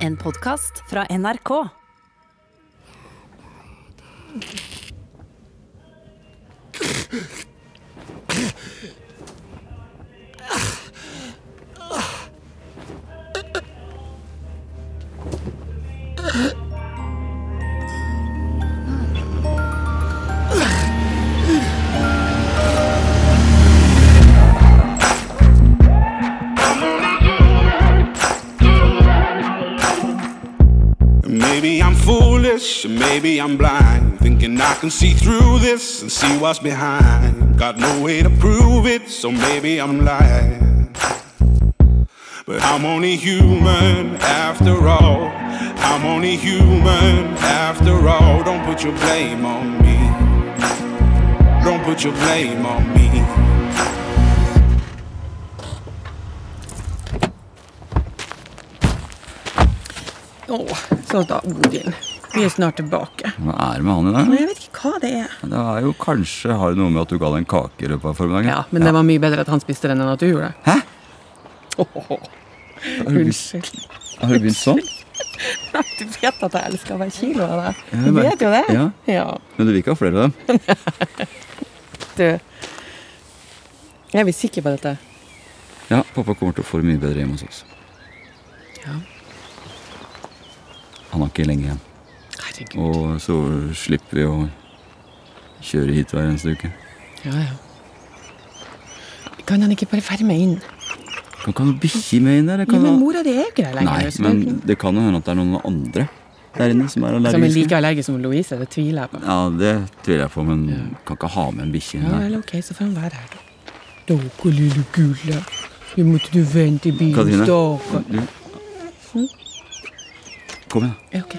En podkast fra NRK. Maybe I'm foolish, maybe I'm blind, thinking I can see through this and see what's behind. Got no way to prove it, so maybe I'm lying. But I'm only human after all. I'm only human after all. Don't put your blame on me. Don't put your blame on me. Å, så da, Odin. Vi er snart tilbake. Hva er det med han i dag? Men jeg vet ikke hva det er. Det er jo kanskje har det noe med at du ga deg en kake i løpet av formiddagen. Ja, Men det var mye bedre at han spiste den enn at du gjorde det. Hæ? Åh, Har du, begynt, unnskyld. har du begynt sånn? Du vet at jeg elsker hver kilo av deg. Ja, Du jeg vet jo det. merker- ja. Men du vil ikke ha flere av dem? Du. Jeg blir sikker på dette. Ja, pappa kommer til å få det mye bedre hjemme hos oss. Ja. Han har ikke lenge igjen. Herregud. Og så slipper vi å kjøre hit hver eneste uke. Ja, ja. Kan han ikke bare være med inn? Kan ikke ha noe bikkje med inn der? det Ja, Kan men ha- mora di er jo ikke der lenger. Nei, så det er men ikke- det kan jo hende at det er noen andre der inne som Som er er like allergiske. allergisk som Louise, det tviler jeg på. Ja, det tviler jeg på, men kan ikke ha med en bikkje inn Ja, der. vel, ok, så får han være her, da. Dere lille gulle. Vi måtte du vente i bilen, Katrine. stakkar. Du. Kom igjen. Ja, ok.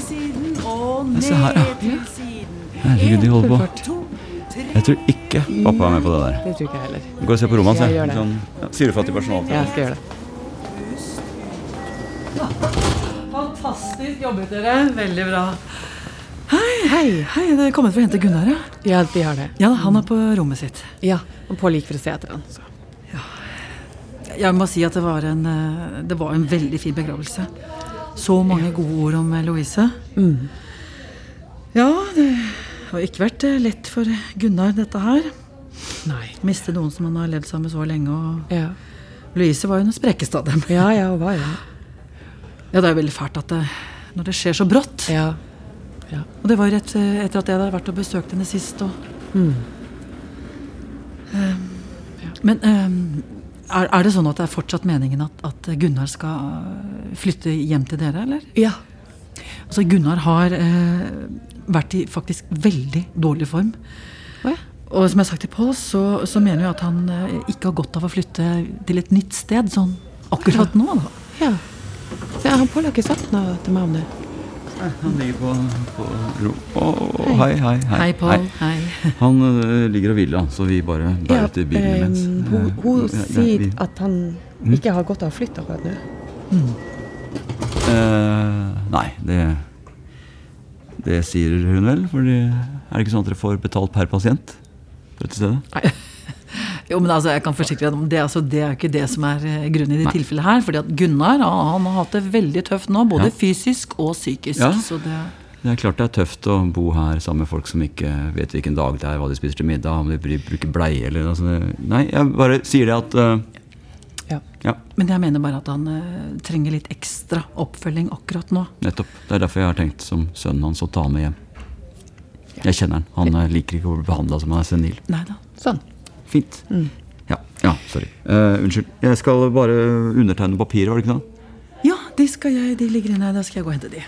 Se her, ja. Herregud, de holder på. Jeg tror ikke pappa er med på det der. Det tror ikke jeg heller. Gå og se på rommet hans. Jeg gjør jeg. det. Sånn, ja, Syrefattig personal. Ja, jeg skal gjøre det. Fantastisk jobbet dere. Veldig bra. Hei, hei, hei. Det er kommet for å hente Gunnar, ja. Ja, de har det. Ja, da, han er på rommet sitt. Ja, og Pål gikk for å se etter han. Så. Jeg må si at det var en, eh, det var en veldig fin begravelse. Så mange gode ord om eh, Louise. Mm. Ja, det har ikke vært eh, lett for Gunnar, dette her. Nei. Miste noen som han har levd sammen med så lenge. Og Ja, Louise var jo den sprekeste av dem. ja, ja og hva, ja. Ja, det er jo veldig fælt at det, når det skjer så brått. Ja, Og det var jo rett eh, etter at jeg hadde vært og besøkt henne sist. Og... Mm. Ehm, Men ehm, er, er det sånn at det er fortsatt meningen at, at Gunnar skal eh, flytte hjem til dere, eller? ja. Altså, Gunnar har eh, vært i faktisk veldig dårlig form. Å, ja. Og som jeg har sagt til Pål, så, så mener jeg at han eh, ikke har godt av å flytte til et nytt sted sånn akkurat nå, da. ja. Se, han Pål har ikke sagt noe til meg om det. Han ligger på, på ro... Å, hei, hei, hei. Hei, Pål. Hei. Han øh, ligger og hviler, han, så vi bare bærer ut i bilen eh, imens. hun Eh, hun ja, ja, sier vi- Mm. at han ikke har godt av å flytte akkurat nå. Eh, Nei, det Det sier hun vel, fordi Er det ikke sånn at dere får betalt per pasient på dette stedet? Jo, men altså, jeg kan forsikre deg om det, altså, det er jo ikke det som er eh, grunnen i det tilfellet her. fordi at Gunnar han, han har hatt det veldig tøft nå, både Ja. fysisk og psykisk. Ja. Så det, Det er klart det er tøft å bo her sammen med folk som ikke vet hvilken dag det er, hva de spiser til middag, om de br- bruker bleie eller noe sånt. Nei, jeg bare sier det at øh, Ja. Ja, men jeg mener bare at han eh, trenger litt ekstra oppfølging akkurat nå. nettopp. Det er derfor jeg har tenkt som sønnen hans å ta han med hjem. Jeg kjenner han. Han øh, liker ikke å bli behandla som han er senil. Neida. Sånn. Fint. Ja, ja, sorry. Eh, unnskyld. Jeg skal bare undertegne papiret, var det ikke noe? Ja, de, skal jeg, de ligger inne her. Da skal jeg gå og hente de.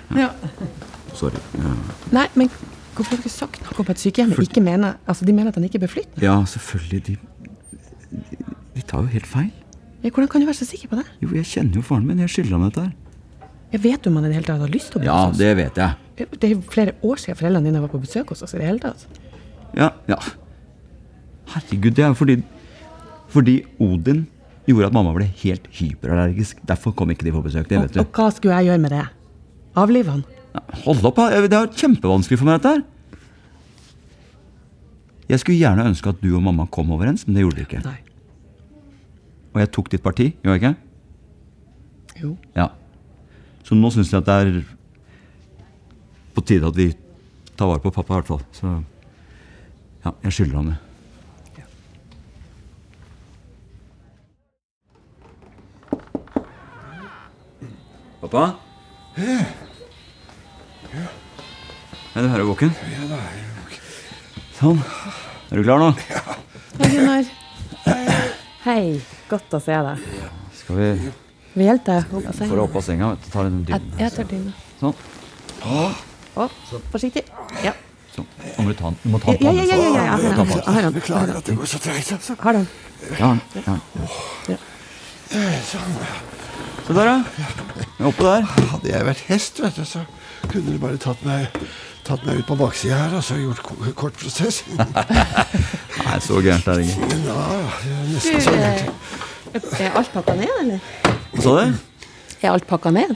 Sorry. Eh, Nei, men hvorfor har dere sagt noe om at sykehjemmet ikke mener Altså, de mener at han ikke bør flytte? ja, selvfølgelig. De, de tar jo helt feil. Ja, hvordan kan du være så sikker på det? Jo, jeg kjenner jo faren min. Jeg skylder han dette her. Jeg vet jo om han i det hele tatt har lyst til å bo Ja, hos oss. det vet jeg. Det er jo flere år siden foreldrene dine var på besøk hos oss i det hele tatt. Ja, ja. Herregud, det er jo fordi Fordi Odin gjorde at mamma ble helt hyperallergisk. Derfor kom ikke de på besøk. det vet Og, og du. hva skulle jeg gjøre med det? Avlive han? Nei, Hold opp, da. Jeg- Det er jo kjempevanskelig for meg, dette her. Jeg skulle gjerne ønske at du og mamma kom overens, men det gjorde dere ikke. Nei. Og jeg tok ditt parti, gjorde jeg ikke? Jo. Ja. Så nå syns jeg at det er på tide at vi tar vare på pappa, i hvert fall. Så ja, jeg skylder han det. Pappa? Ja, du hører våken? Ja, da er jeg våken. Sånn. Er du klar nå? Hei, Gunnar. Hei. Godt å se deg. Skal vi Vil du hjelpe deg opp av få deg senga? opp av senga? vet du, Ta den Jeg, dynen. jeg tar dyna. Sånn. Å, forsiktig. Ja. sånn. Nå må du ta den. Du må ta den på Ja, ja, hånden, ja, så. ja, ja, jeg har den. Jeg har den. Jeg har den. Beklager at det går så treigt, altså. Har den. Ja, ja. Se der, ja. Jeg er oppe der. Hadde jeg vært hest, vet du, så kunne du bare tatt meg, tatt meg ut på baksida her og så gjort ko- kort prosess. Ja, Nei, så gærent er det ikke. det er Du, nesten så eh, er alt pakka ned, eller? Hva sa du? Er alt pakka ned?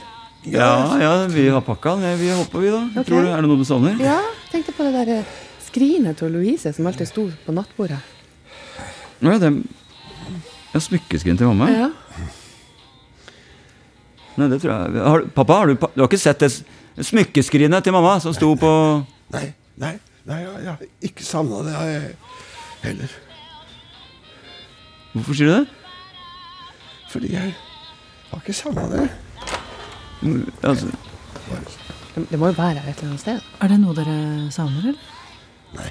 Ja, ja, vi har pakka den. Vi hopper, vi, da. Tror du, er det noe du savner? Ja, tenkte på det der eh, skrinet til Louise som alltid sto på nattbordet. Nå er det ja, smykkeskrin til mamma. Ja. Nei, det tror jeg. Har, du- pappa, har du, pa- du har ikke sett det s- smykkeskrinet til mamma som sto på Nei, nei, nei, jeg, jeg har ikke savna det jeg, heller. Hvorfor sier du det? Fordi jeg har ikke savna det. Altså, Det, det må jo være her et eller annet sted. Er det noe dere savner, eller?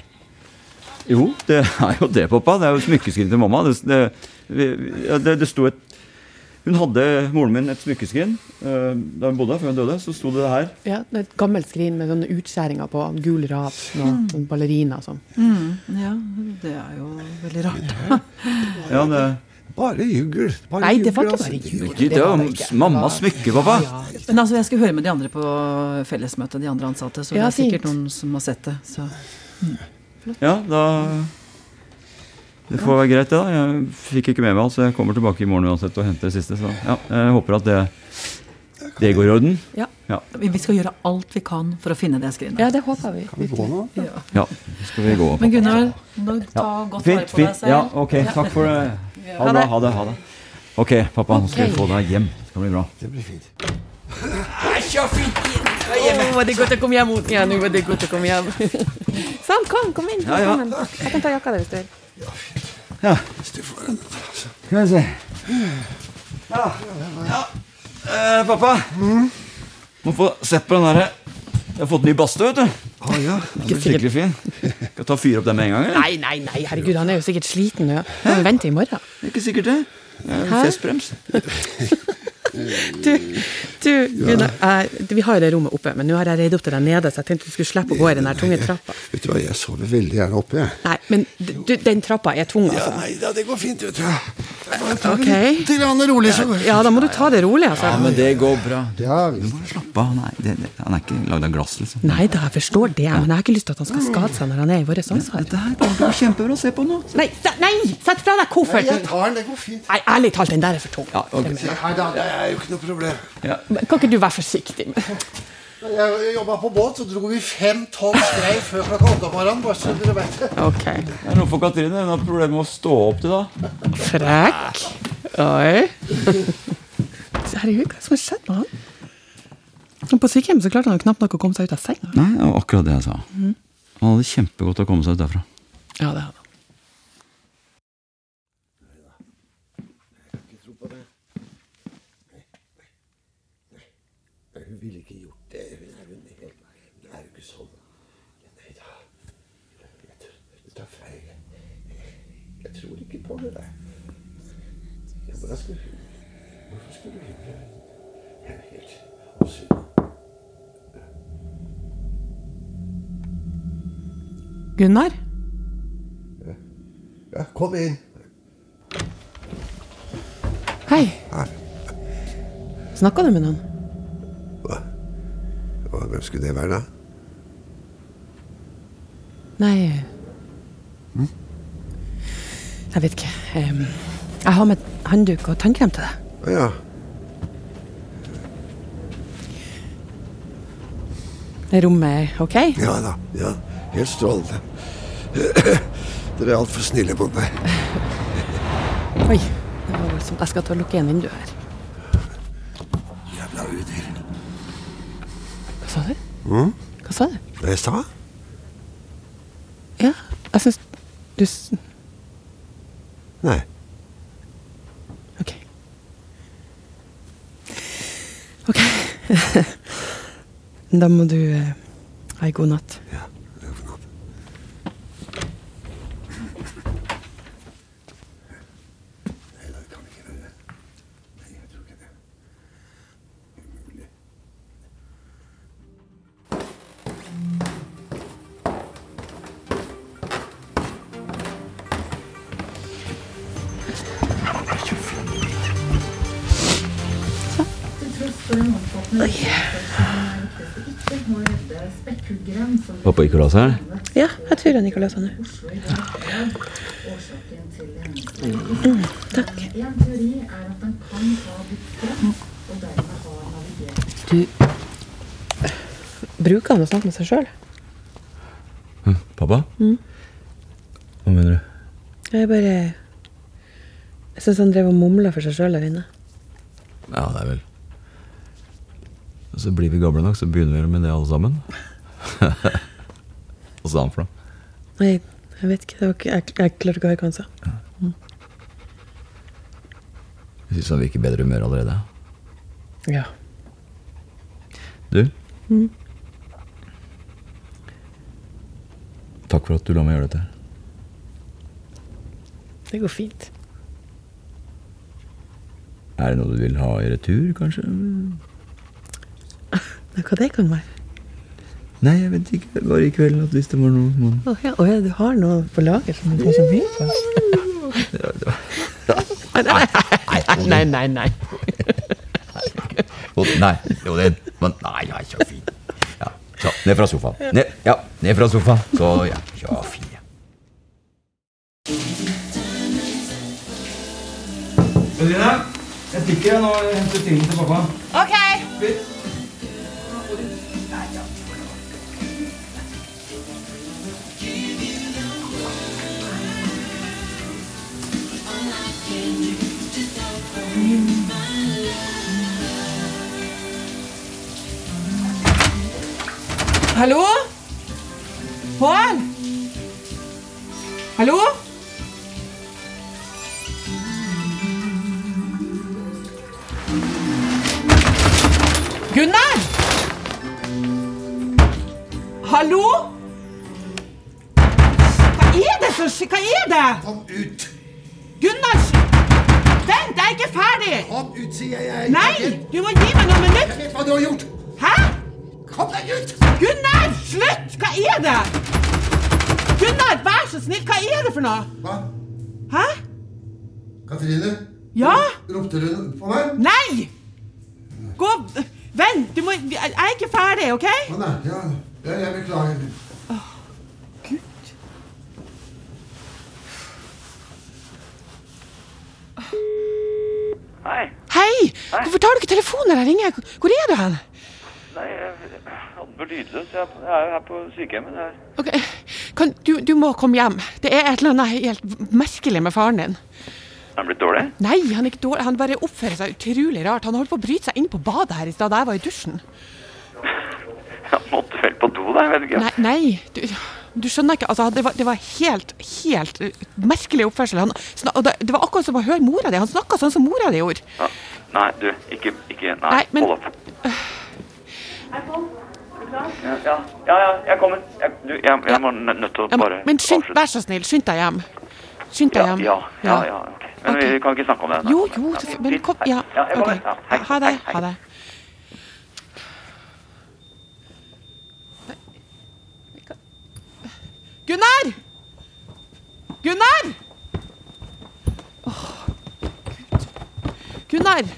Jo, det er jo det, pappa. Det er jo smykkeskrin til mamma. Det, det, vi- ja, det, det sto et Hun hadde, moren min, et smykkeskrin eh, da hun bodde her, før hun døde. Så sto det her. Ja, det er Et gammelt skrin med sånne utskjæringer på en gul rap og en ballerina og sånn. Ja, det er jo veldig rart. Ja, det, Bare jugl. Bare Nei, det var jugl, ikke bare altså. jul. det, var var det ikke. mammas smykke, pappa. Men altså, jeg skal høre med de andre på fellesmøtet, de andre ansatte. Så Ja, det er sikkert fint. noen som har sett det. Så. Ja, da Det får være greit, det, da. Jeg fikk ikke med meg alt, så jeg kommer tilbake i morgen uansett og henter det siste. Så ja, jeg håper at det, det går i orden. Ja. Ja. Vi vi skal gjøre alt vi kan for å finne det skrinet. Ja, det håper vi. Kan vi gå nå? Ja, så skal vi gå. Men Gunnar, nå ta godt vare Fint, på deg fint. selv. Ja, ok, takk for det. Ha det bra. Ha det. ha det. Ok, pappa, nå skal vi Ok. få deg hjem. Det skal bli bra. Det blir fint. Å, var det godt å komme hjem mot igjen. Nå var det godt å komme hjem. Sam, kom, kom inn. Ja, ja. Velkommen. Jeg kan ta jakka di hvis du vil. altså. Skal vi se. Ja, ja. Eh, pappa. Må få sett på den derre Jeg har fått ny badstue, vet du. Ah, ja. Den blir skikkelig fin. Skal jeg ta og fyre opp den med en gang? eller? Nei, nei, nei, herregud, han er jo sikkert sliten nå. Han venter i morgen. Det er ikke sikkert det. Det er Hæ? Festbrems. Du, du Gunnar, jeg- vi har jo det rommet oppe, men nå har jeg reid opp til deg nede, så jeg tenkte du skulle slippe å gå i den der tunge trappa. Vet du hva, jeg sover veldig gjerne oppe, jeg. Nei, men d- du, den trappa er tung, Ja, altså. nei da, det går fint, vet du. Bare ta det Ok. litt grann rolig, så. Ja, da må du ta det rolig, Ja, altså. men det går bra. Ja, visst. Slapp av. Nei, det, det, han er ikke lagd av glass, liksom. Nei da, jeg forstår det, men jeg har ikke lyst til at han skal skade seg når han er i vårt ansvar. Dette her kommer til å gå kjempebra. Se på nå. Nei, se- nei, sett fra deg Nei, jeg kofferten! tar den, det går fint. Nei, ærlig talt, den der er for tung. Ja, ok. Den- Nei da, det er jo ikke noe problem. Men Kan ikke du være forsiktig? med- Jeg, jeg jobba på båt, så dro vi fem tonn skrei før klokka åtte om morgenen. Bare så dere vet det. Ok. Det er noe for Katrine. Hun har problemer med å stå opp til da. Frekk. Oi. Herregud, hva er det som har skjedd med han? Og På sykehjem så klarte han knapt nok å komme seg ut av senga. Nei, det var akkurat det jeg sa. Han hadde kjempegodt av å komme seg ut derfra. Ja, det hadde han. Hun ville ikke gjort det. Hun er jo helt Det er jo ikke sånn. Nei da. Jeg tror- Du tar feil. Jeg tror ikke på det der. Ja, Hvordan skulle hun Hvorfor skulle hun gjøre det? Jeg er helt avsyn. Gunnar? Ja, kom inn. Hei. Hei. Snakka du med noen? Hva? Hva- Hvem skulle det være, da? Nei Jeg vet ikke. Em, Jeg har med håndduk og tannkrem til deg. Å ja. Det Rommet er OK? Ja da. Ja. Helt strålende. Dere er altfor snille mot meg. Oi, det var voldsomt. Jeg skal ta og lukke igjen vinduet her. Jævla udyr. Hva sa du? Hva sa du? Hva jeg sa? Ja, jeg syns du s- Nei. OK. OK. da må du eh, ha ei god natt. Ja, det er for noe. Nei da, jeg kan ikke det. Nei, jeg tror ikke det. Umulig. Pappa gikk og la seg? Ja, jeg tror Nicolas han er. Mm. Bruker han å snakke med seg sjøl? Pappa? Hva mener du? Jeg bare Jeg syns han drev og mumla for seg sjøl der inne. Ja, det er vel Og så blir vi gamle nok, så begynner vi med det alle sammen. Hva sa han for noe? Nei, jeg vet ikke. Det var ikke jeg, jeg klarte ikke å høre hva han sa. Jeg syns han virker i bedre humør allerede. Ja. Du? Mm. Takk for at du la meg gjøre dette. her. Det går fint. Er det noe du vil ha i retur, kanskje? Men hva det kan være? Nei, jeg vet ikke. Bare i kveld, at hvis det var noe noen Å ja, å ja, du har noe på lager som du kanskje vil på? Nei, nei, nei. Å, Nei, jo, det, men nei, ja, så fin. Ja, så, ned fra sofaen. Ned, ja, ned fra sofaen. Så, ja, så fin. ja. Eline, jeg stikker jeg nå og henter tingene til pappa. Ok. Hallo? Pål? Hallo? Gunnar? Hallo? Hva er det som skjer? Hva er det? Kom ut! Gunnar! Vent, jeg er ikke ferdig! Kom ut, sier jeg! Nei, du må gi meg noen minutter! Jeg vet hva du har gjort! Hæ? Kom deg ut! Gunnar, slutt! Hva er det? Gunnar, vær så snill, hva er det for noe? Hva? Hæ? Katrine? Ja? Ropte du på meg? Nei! Gå Vent, du må Jeg er ikke ferdig, OK? Å nei, ja. ja, jeg beklager. Gud. Hei. Hei! Hvorfor tar du ikke telefonen når jeg ringer? Hvor er du hen? Nei, jeg hadde vært lydløs. Jeg jeg er jo her på sykehjemmet. Jeg Ok, kan, du, du må komme hjem. Det er et eller annet helt merkelig med faren din. Er han blitt dårlig? Nei, han er ikke dårlig. Han bare oppfører seg utrolig rart. Han holdt på å bryte seg inn på badet her i stad da jeg var i dusjen. Han måtte vel på do, da. Jeg vet ikke. Nei, nei. Du, du skjønner ikke. Altså, det, var, det var helt, helt eh, merkelig oppførsel. Han, snak- og det, det var akkurat som å høre mora di. Han snakka sånn som mora di gjorde. Ja. Nei, du. Ikke, ikke Nei, Nei, men- hold opp. Ja, ja, ja, ja, jeg kommer. Jeg, du, jeg, jeg var nø- nødt til å Ja, men bare men skynd, avslutte. vær så snill, skynd deg hjem. Skynd deg ja, hjem. ja, ja, ja, ok. Men Ok. vi kan ikke snakke om det. nå. Jo, jo, Ja, det- men fint. kom Hei. Ja, ja jeg ok. kommer. Ja, hei, Ha det. hei, Ha hei. det. Gunnar! Gunnar! Åh, Gud. Gunnar! Hva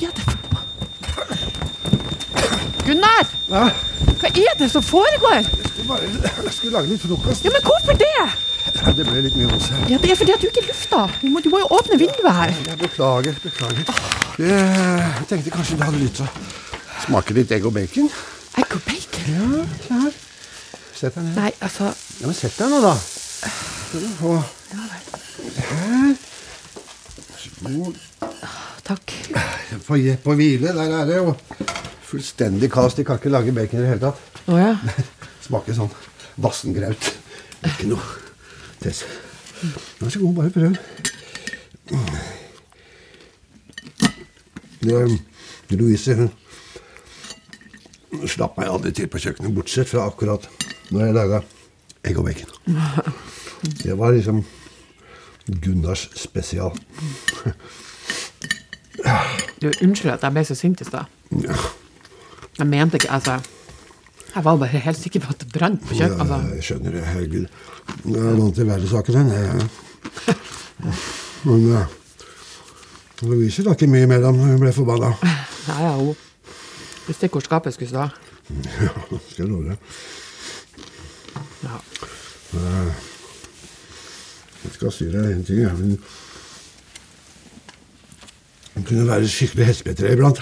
er det for Gunnar! Hva? Hva er det som foregår? Jeg bare- jeg skulle lage litt frokost. Ja, men hvorfor det? Det ble litt mye hos her. Ja, Det er fordi at du ikke lufter. Du må, du må jo åpne vinduet her. Jeg beklager, beklager. Jeg tenkte kanskje du hadde lyst til å smake litt egg og bacon. Egg og bacon? Ja, kjær. Sett deg ned. Nei, altså Ja, men sett deg nå, da. Og her. Jo, Takk. Få jepp og hvile. Der er det jo fullstendig kaos. De kan ikke lage bacon i det hele tatt. Å ja. Smaker sånn vassengraut. Ikke noe tess. Vær så god, bare prøv. Mm. Det, Louise hun slapp meg aldri til på kjøkkenet, bortsett fra akkurat når jeg laga egg og bacon. Det var liksom Gunnars spesial. Du, unnskyld at jeg ble så sint i stad. Ja. Jeg mente ikke Altså, jeg var bare helt sikker på at det brant på kjøkkenet. Ja, Altså. jeg skjønner det. Herregud. Det er noen til verre saker enn det. ja. Men eh, ja. Louise la ikke mye imellom når hun ble forbanna. Ja, ja, hun visste ikke hvor skapet skulle stå. Ja, skal jeg love deg. Ja. Eh, Jeg skal si deg en ting. ja, men Hun kunne være skikkelig hespetre iblant.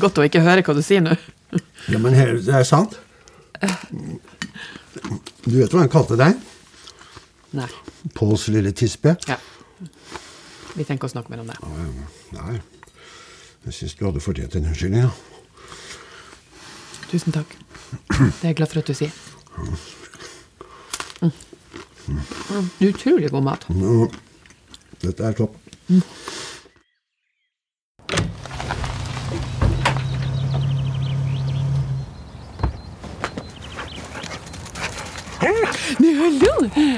Godt å ikke høre hva du sier nå. Ja, men her, det er sant. Du vet hva han kalte deg? Nei, Påls lille tispe? vi tenker å snakke mer om det. Nei. Jeg syns du hadde fortjent en unnskyldning. da. Tusen takk. Det er jeg glad for at du sier. Mm. Mm. Utrolig god mat. Nå, dette er topp. Men hallo,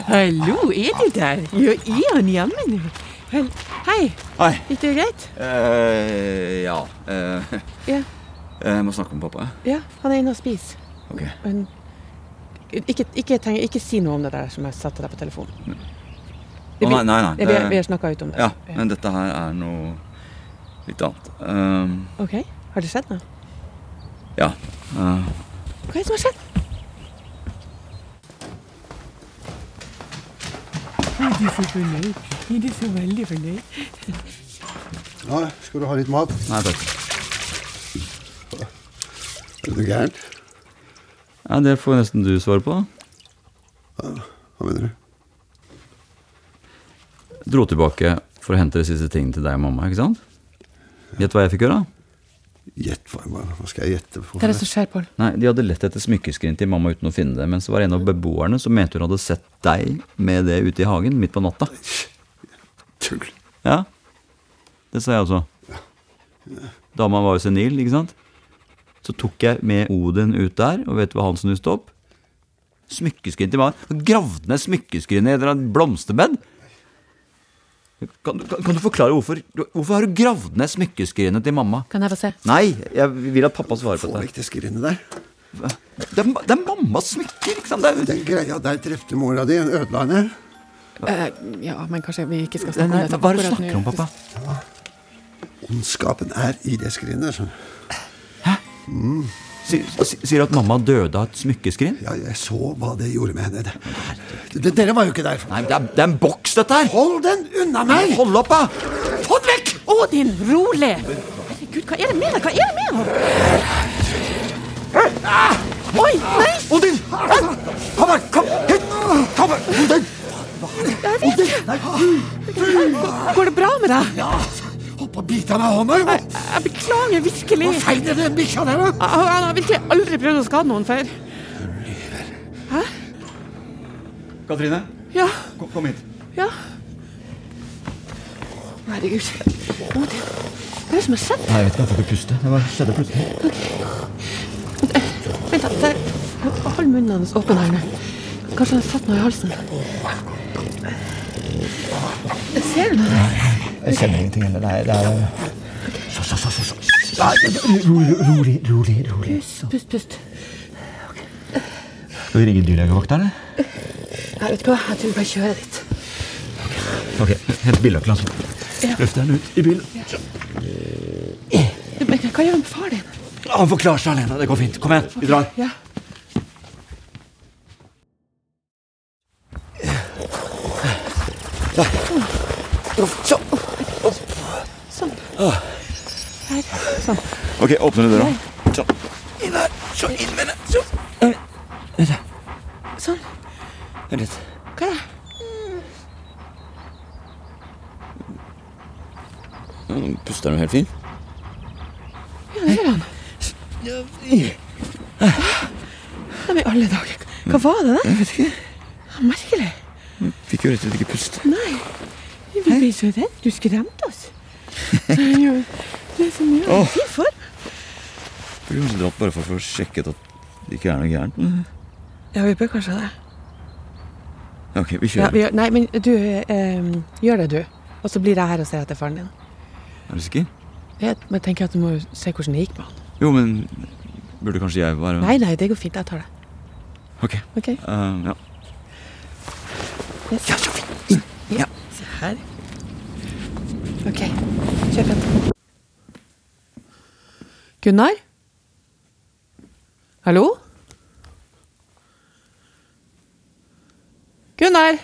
hallo, er du der? Ja, er han hjemme nå? Hel- Hei, Hei. gikk det greit? Eh, ja eh, Ja, Jeg må snakke med pappa. ja, han er inne og spiser. Ok. Men, ikke, ikke, tenk, ikke si noe om det der som jeg satte deg på telefonen. Å, nei, nei, nei. Vi, vi, det- vi har snakka ut om det. Ja, men dette her er noe litt annet. Ehm, Ok, har det skjedd noe? ja. eh, Hva er det som har skjedd? Er du så fornøyd? Er du så veldig fornøyd? Ja, skal du ha litt mat? nei, takk. Er du gærent? Ja, det får nesten du svare på. Hva mener du? Dro tilbake for å hente de siste tingene til deg og mamma, ikke sant? Gjett hva jeg fikk gjøre? Gjett hva, hva- hva skal jeg gjette på? Hva er det som skjer, Pål? Nei, De hadde lett etter smykkeskrin til mamma uten å finne det, mens det var en av beboerne som mente hun hadde sett deg med det ute i hagen midt på natta. Tull. Ja. Det sa jeg også. Dama var jo senil, ikke sant? Så tok jeg med Odin ut der, og vet du hva han snuste opp? Smykkeskrin til mannen. Han gravde ned smykkeskrinet i et eller annet blomsterbed! Kan, du- kan, kan du forklare hvorfor Hvorfor har du gravd ned smykkeskrinet til mamma? Kan jeg få se? Nei, jeg vil at pappa svarer på dette. Får vekk det skrinet der. Det er, ma- det er mammas smykker, ikke sant? Det er... Den greia der drepte mora di. Hun ødela henne. Eh, ja, men kanskje vi ikke skal Nei, snakke om nei, dette hva er det du akkurat nå. snakker om, pappa? Ondskapen er i det skrinet. Sånn. Mm. Sier, sier at mamma døde av et smykkeskrin? Ja, jeg så hva det gjorde med henne. Det- det- Dere var jo ikke der. Nei, men det er, det er en boks, dette her! Hold den unna meg! Hold opp, da! Få den vekk! Odin, rolig! Herregud, hva er det med deg? Hva er det med deg? Ah! Oi, nei! Odin! Altså, Kom her! Kom hit! Kom her! Odin! Jeg vet ikke. Går det bra med deg? Ja, holdt på å bite meg i hånda. jo. Jeg beklager virkelig. Hva feil er det den bikkja der, da? Ah, Han har virkelig aldri prøvd å skade noen før. Katrine, Ja, kom, kom hit. ja. Herregud. Odin, hva er det som har skjedd? Nei, jeg vet ikke, jeg får ikke puste. Det bare skjedde plutselig. Vent, da, der. Hold munnen hans åpen her nå. Kanskje han har fått noe i halsen. Ser du det? Jeg kjenner ingenting heller. Nei, det er Så, så, så, så, så. Nei, Rolig, rolig, rolig. rolig. Pust, pust, pust. Skal vi ringe dyrlegevakta, eller? Jeg vet ikke hva, jeg tror vi bare kjører dit. Ok, hent bilnøkkelen, altså. Ja. Løft den ut i bilen. Men hva gjør han med far din? Han får klare seg alene. Det går fint. Kom igjen, vi drar. Ja. Sånn. Ah. Sånn. Her. Sånn. Ok, åpner du døra? Inn her. Så inn med det! Så. Sånn. Vent litt. Hva er det? Nå Puster du helt fint? Ja, det gjør han. Nei, men i alle dager. Hva var det der? Jeg vet ikke. Ja, Merkelig. Fikk jo rett og slett ikke puste. Nei. Vi ble så redd. Du skremte oss. Det er jo det er så mye Åh. å si for. Burde kanskje dratt bare for å sjekke at det ikke er noe gærent. Ja, vi bør kanskje det. Ok, vi Ja, kjører. vi, gjør- nei, men du, eh, gjør det du. Og så blir jeg her og ser etter faren din. Er du sikker? Jeg, men jeg tenker at du må jo se hvordan det gikk med han. Jo, men burde kanskje jeg være Nei, nei, det går fint. Jeg tar det. Ok. Ok. Eh, ja. Yes. Ja, så fint. Ja. Se her. Ok, kjør fint. Gunnar? Hallo? Gunnar?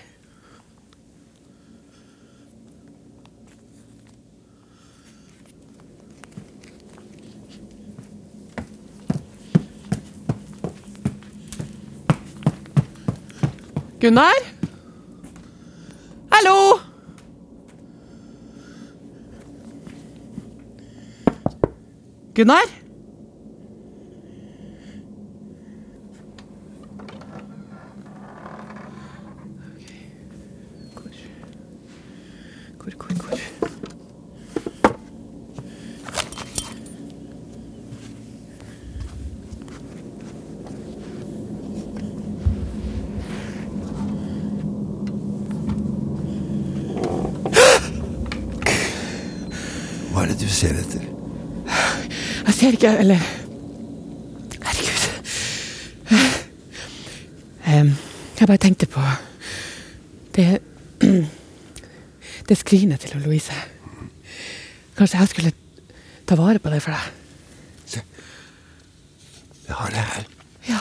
Gunnar? Hallo? Gunnar? Hvor, hvor, hvor? Hva er det du ser etter? Jeg ser ikke, eller Herregud. Em, jeg bare tenkte på det Det skrinet til Louise. Kanskje jeg skulle ta vare på det for deg? Jeg har det her. Ja.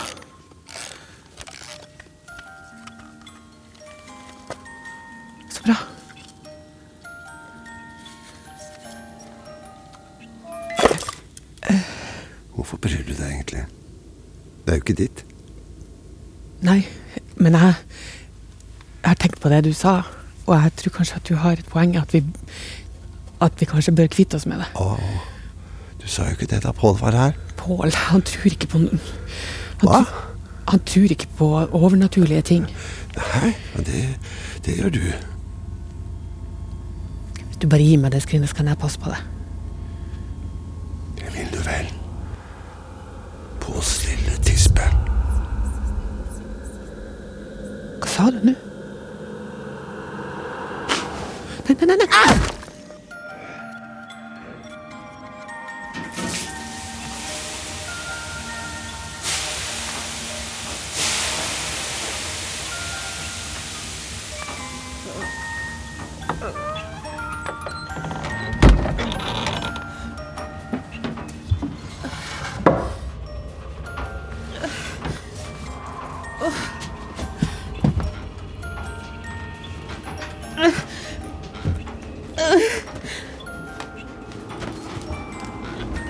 Så bra. Hvorfor bryr du deg egentlig? Det er jo ikke ditt. Nei, men jeg, jeg har tenkt på det du sa, og jeg tror kanskje at du har et poeng at vi, at vi kanskje bør kvitte oss med det. Åh, du sa jo ikke det da Pål var her. Pål, han tror ikke på noen han Hva? han tror ikke på overnaturlige ting. Nei, men det, det gjør du. Hvis du bare gir meg det skrinet, så kan jeg passe på det. Det vil du vel. Påls lille tispe. Hva sa du nå? Nei, nei, nei, nei.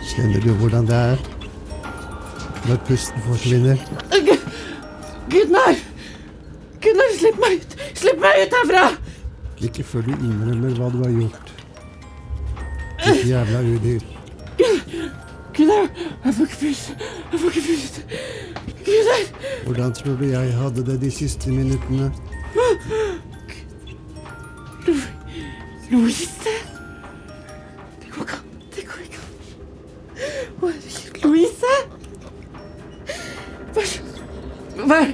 Kjenner du hvordan det er når pusten forsvinner? Gu- Gunnar! Gunnar, slipp meg ut! Slipp meg ut herfra! Ikke før du innrømmer hva du har gjort. Ditt jævla udyr. Gun- Gunnar, jeg får ikke puste. Jeg får ikke puste. Gunnar! Hvordan tror du jeg hadde det de siste minuttene? Lo- Louise? Det går ikke an. Det går ikke an. Å, herregud, Louise! Vær så, vær,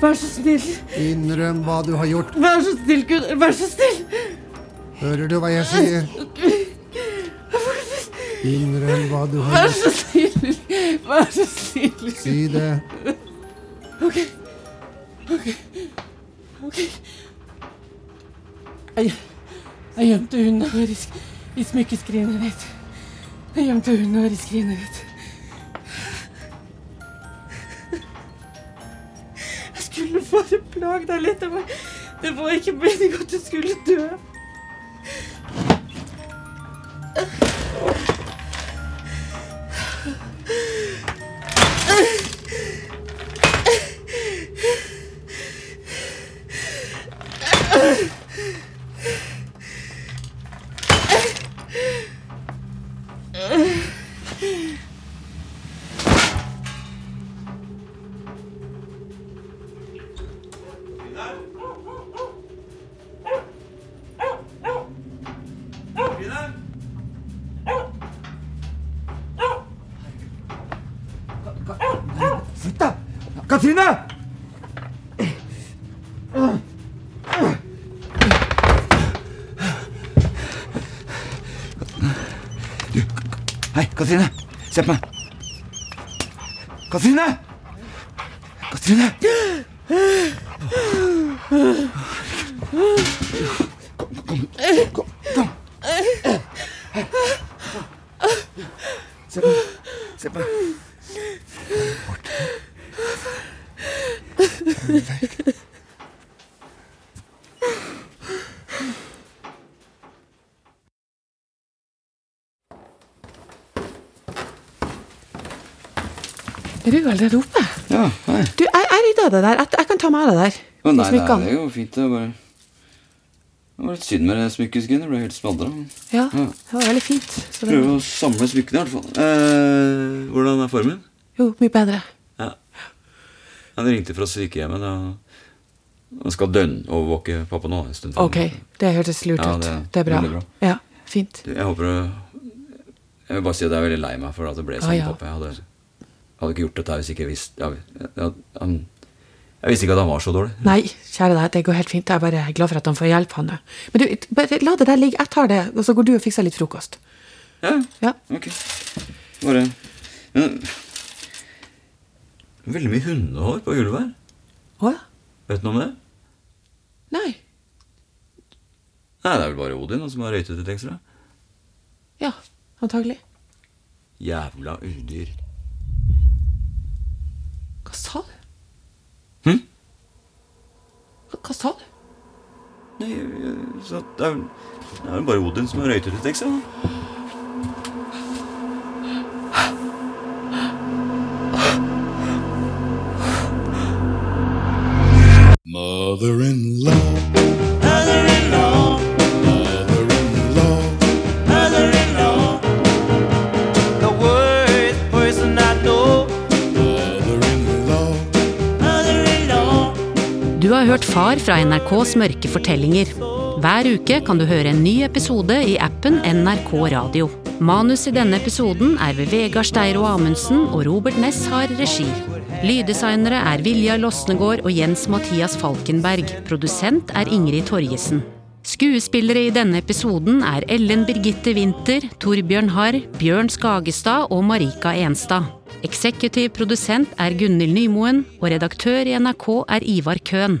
vær så snill. Innrøm hva du har gjort. Vær så snill, Gunnar. Vær så snill. Hører du hva jeg sier? Innrøm hva du har Vær så gjort. snill. Vær så snill. Si det. OK. OK. OK. Jeg, jeg gjemte hunden vår i, sk- i smykkeskrinet ditt. Jeg gjemte hunden vår i skrinet ditt. Jeg skulle bare plage deg litt. Det var, det var ikke meningen at du skulle dø. Sitt, da! Katrine! Du, hei, Katrine. Se på meg. Katrine! Katrine! Se på meg. Se på meg. Er du i garderobe? Ja, hei. Du, jeg, jeg rydda det der. Jeg, jeg kan ta meg av det der. Å, De nei, det smykkene. er jo fint. Det var, det var litt synd med det smykkeskinnet. Det ble helt smadra. Ja, det var veldig fint. Så det, Prøve å samle smykkene, i hvert fall. Eh, hvordan er formen? jo, mye bedre. Ja. Han ringte fra sykehjemmet. Da. Han skal døgnovervåke pappa nå en stund. Ok, det hørtes lurt Ja, ut. Det, det- er bra. veldig bra. Ja, fint. Du, Jeg håper du Jeg vil bare si at jeg er veldig lei meg for at det ble Å, sånn, ja. pappa. Jeg hadde, jeg hadde ikke gjort dette hvis ikke jeg visste jeg, jeg, han, jeg visste ikke at han var så dårlig. Nei, kjære deg, det går helt fint. Jeg er bare glad for at han får hjelp, han. Men du, bare la det der ligge. Jeg tar det, og så går du og fikser litt frokost. Ja, ok. Bare Men Veldig mye hundehår på gulvet her. Hva? Vet du noe om det? Nei. Nei, det er vel bare Odin som har røytet litt ekstra. Ja, antagelig. Jævla udyr. Hva sa du? Hm? Hva, hva sa du? Nei, jeg- så det er vel det er vel bare Odin som har røytet litt ekstra. da. Mother-in-law. Mother-in-law. Mother-in-law. The worst person I know. Mother-in-law. Mother-in-law. Du har hørt Far fra NRKs mørke fortellinger. Hver uke kan du høre en ny episode i appen NRK Radio. Manus i denne episoden er ved Vegard Steiro Amundsen, og Robert Ness har regi. Lyddesignere er Vilja Losnegård og Jens Mathias Falkenberg. Produsent er Ingrid Torjesen. Skuespillere i denne episoden er Ellen Birgitte Winther, Torbjørn Harr, Bjørn Skagestad og Marika Enstad. Eksekutiv produsent er Gunhild Nymoen, og redaktør i NRK er Ivar Køhn.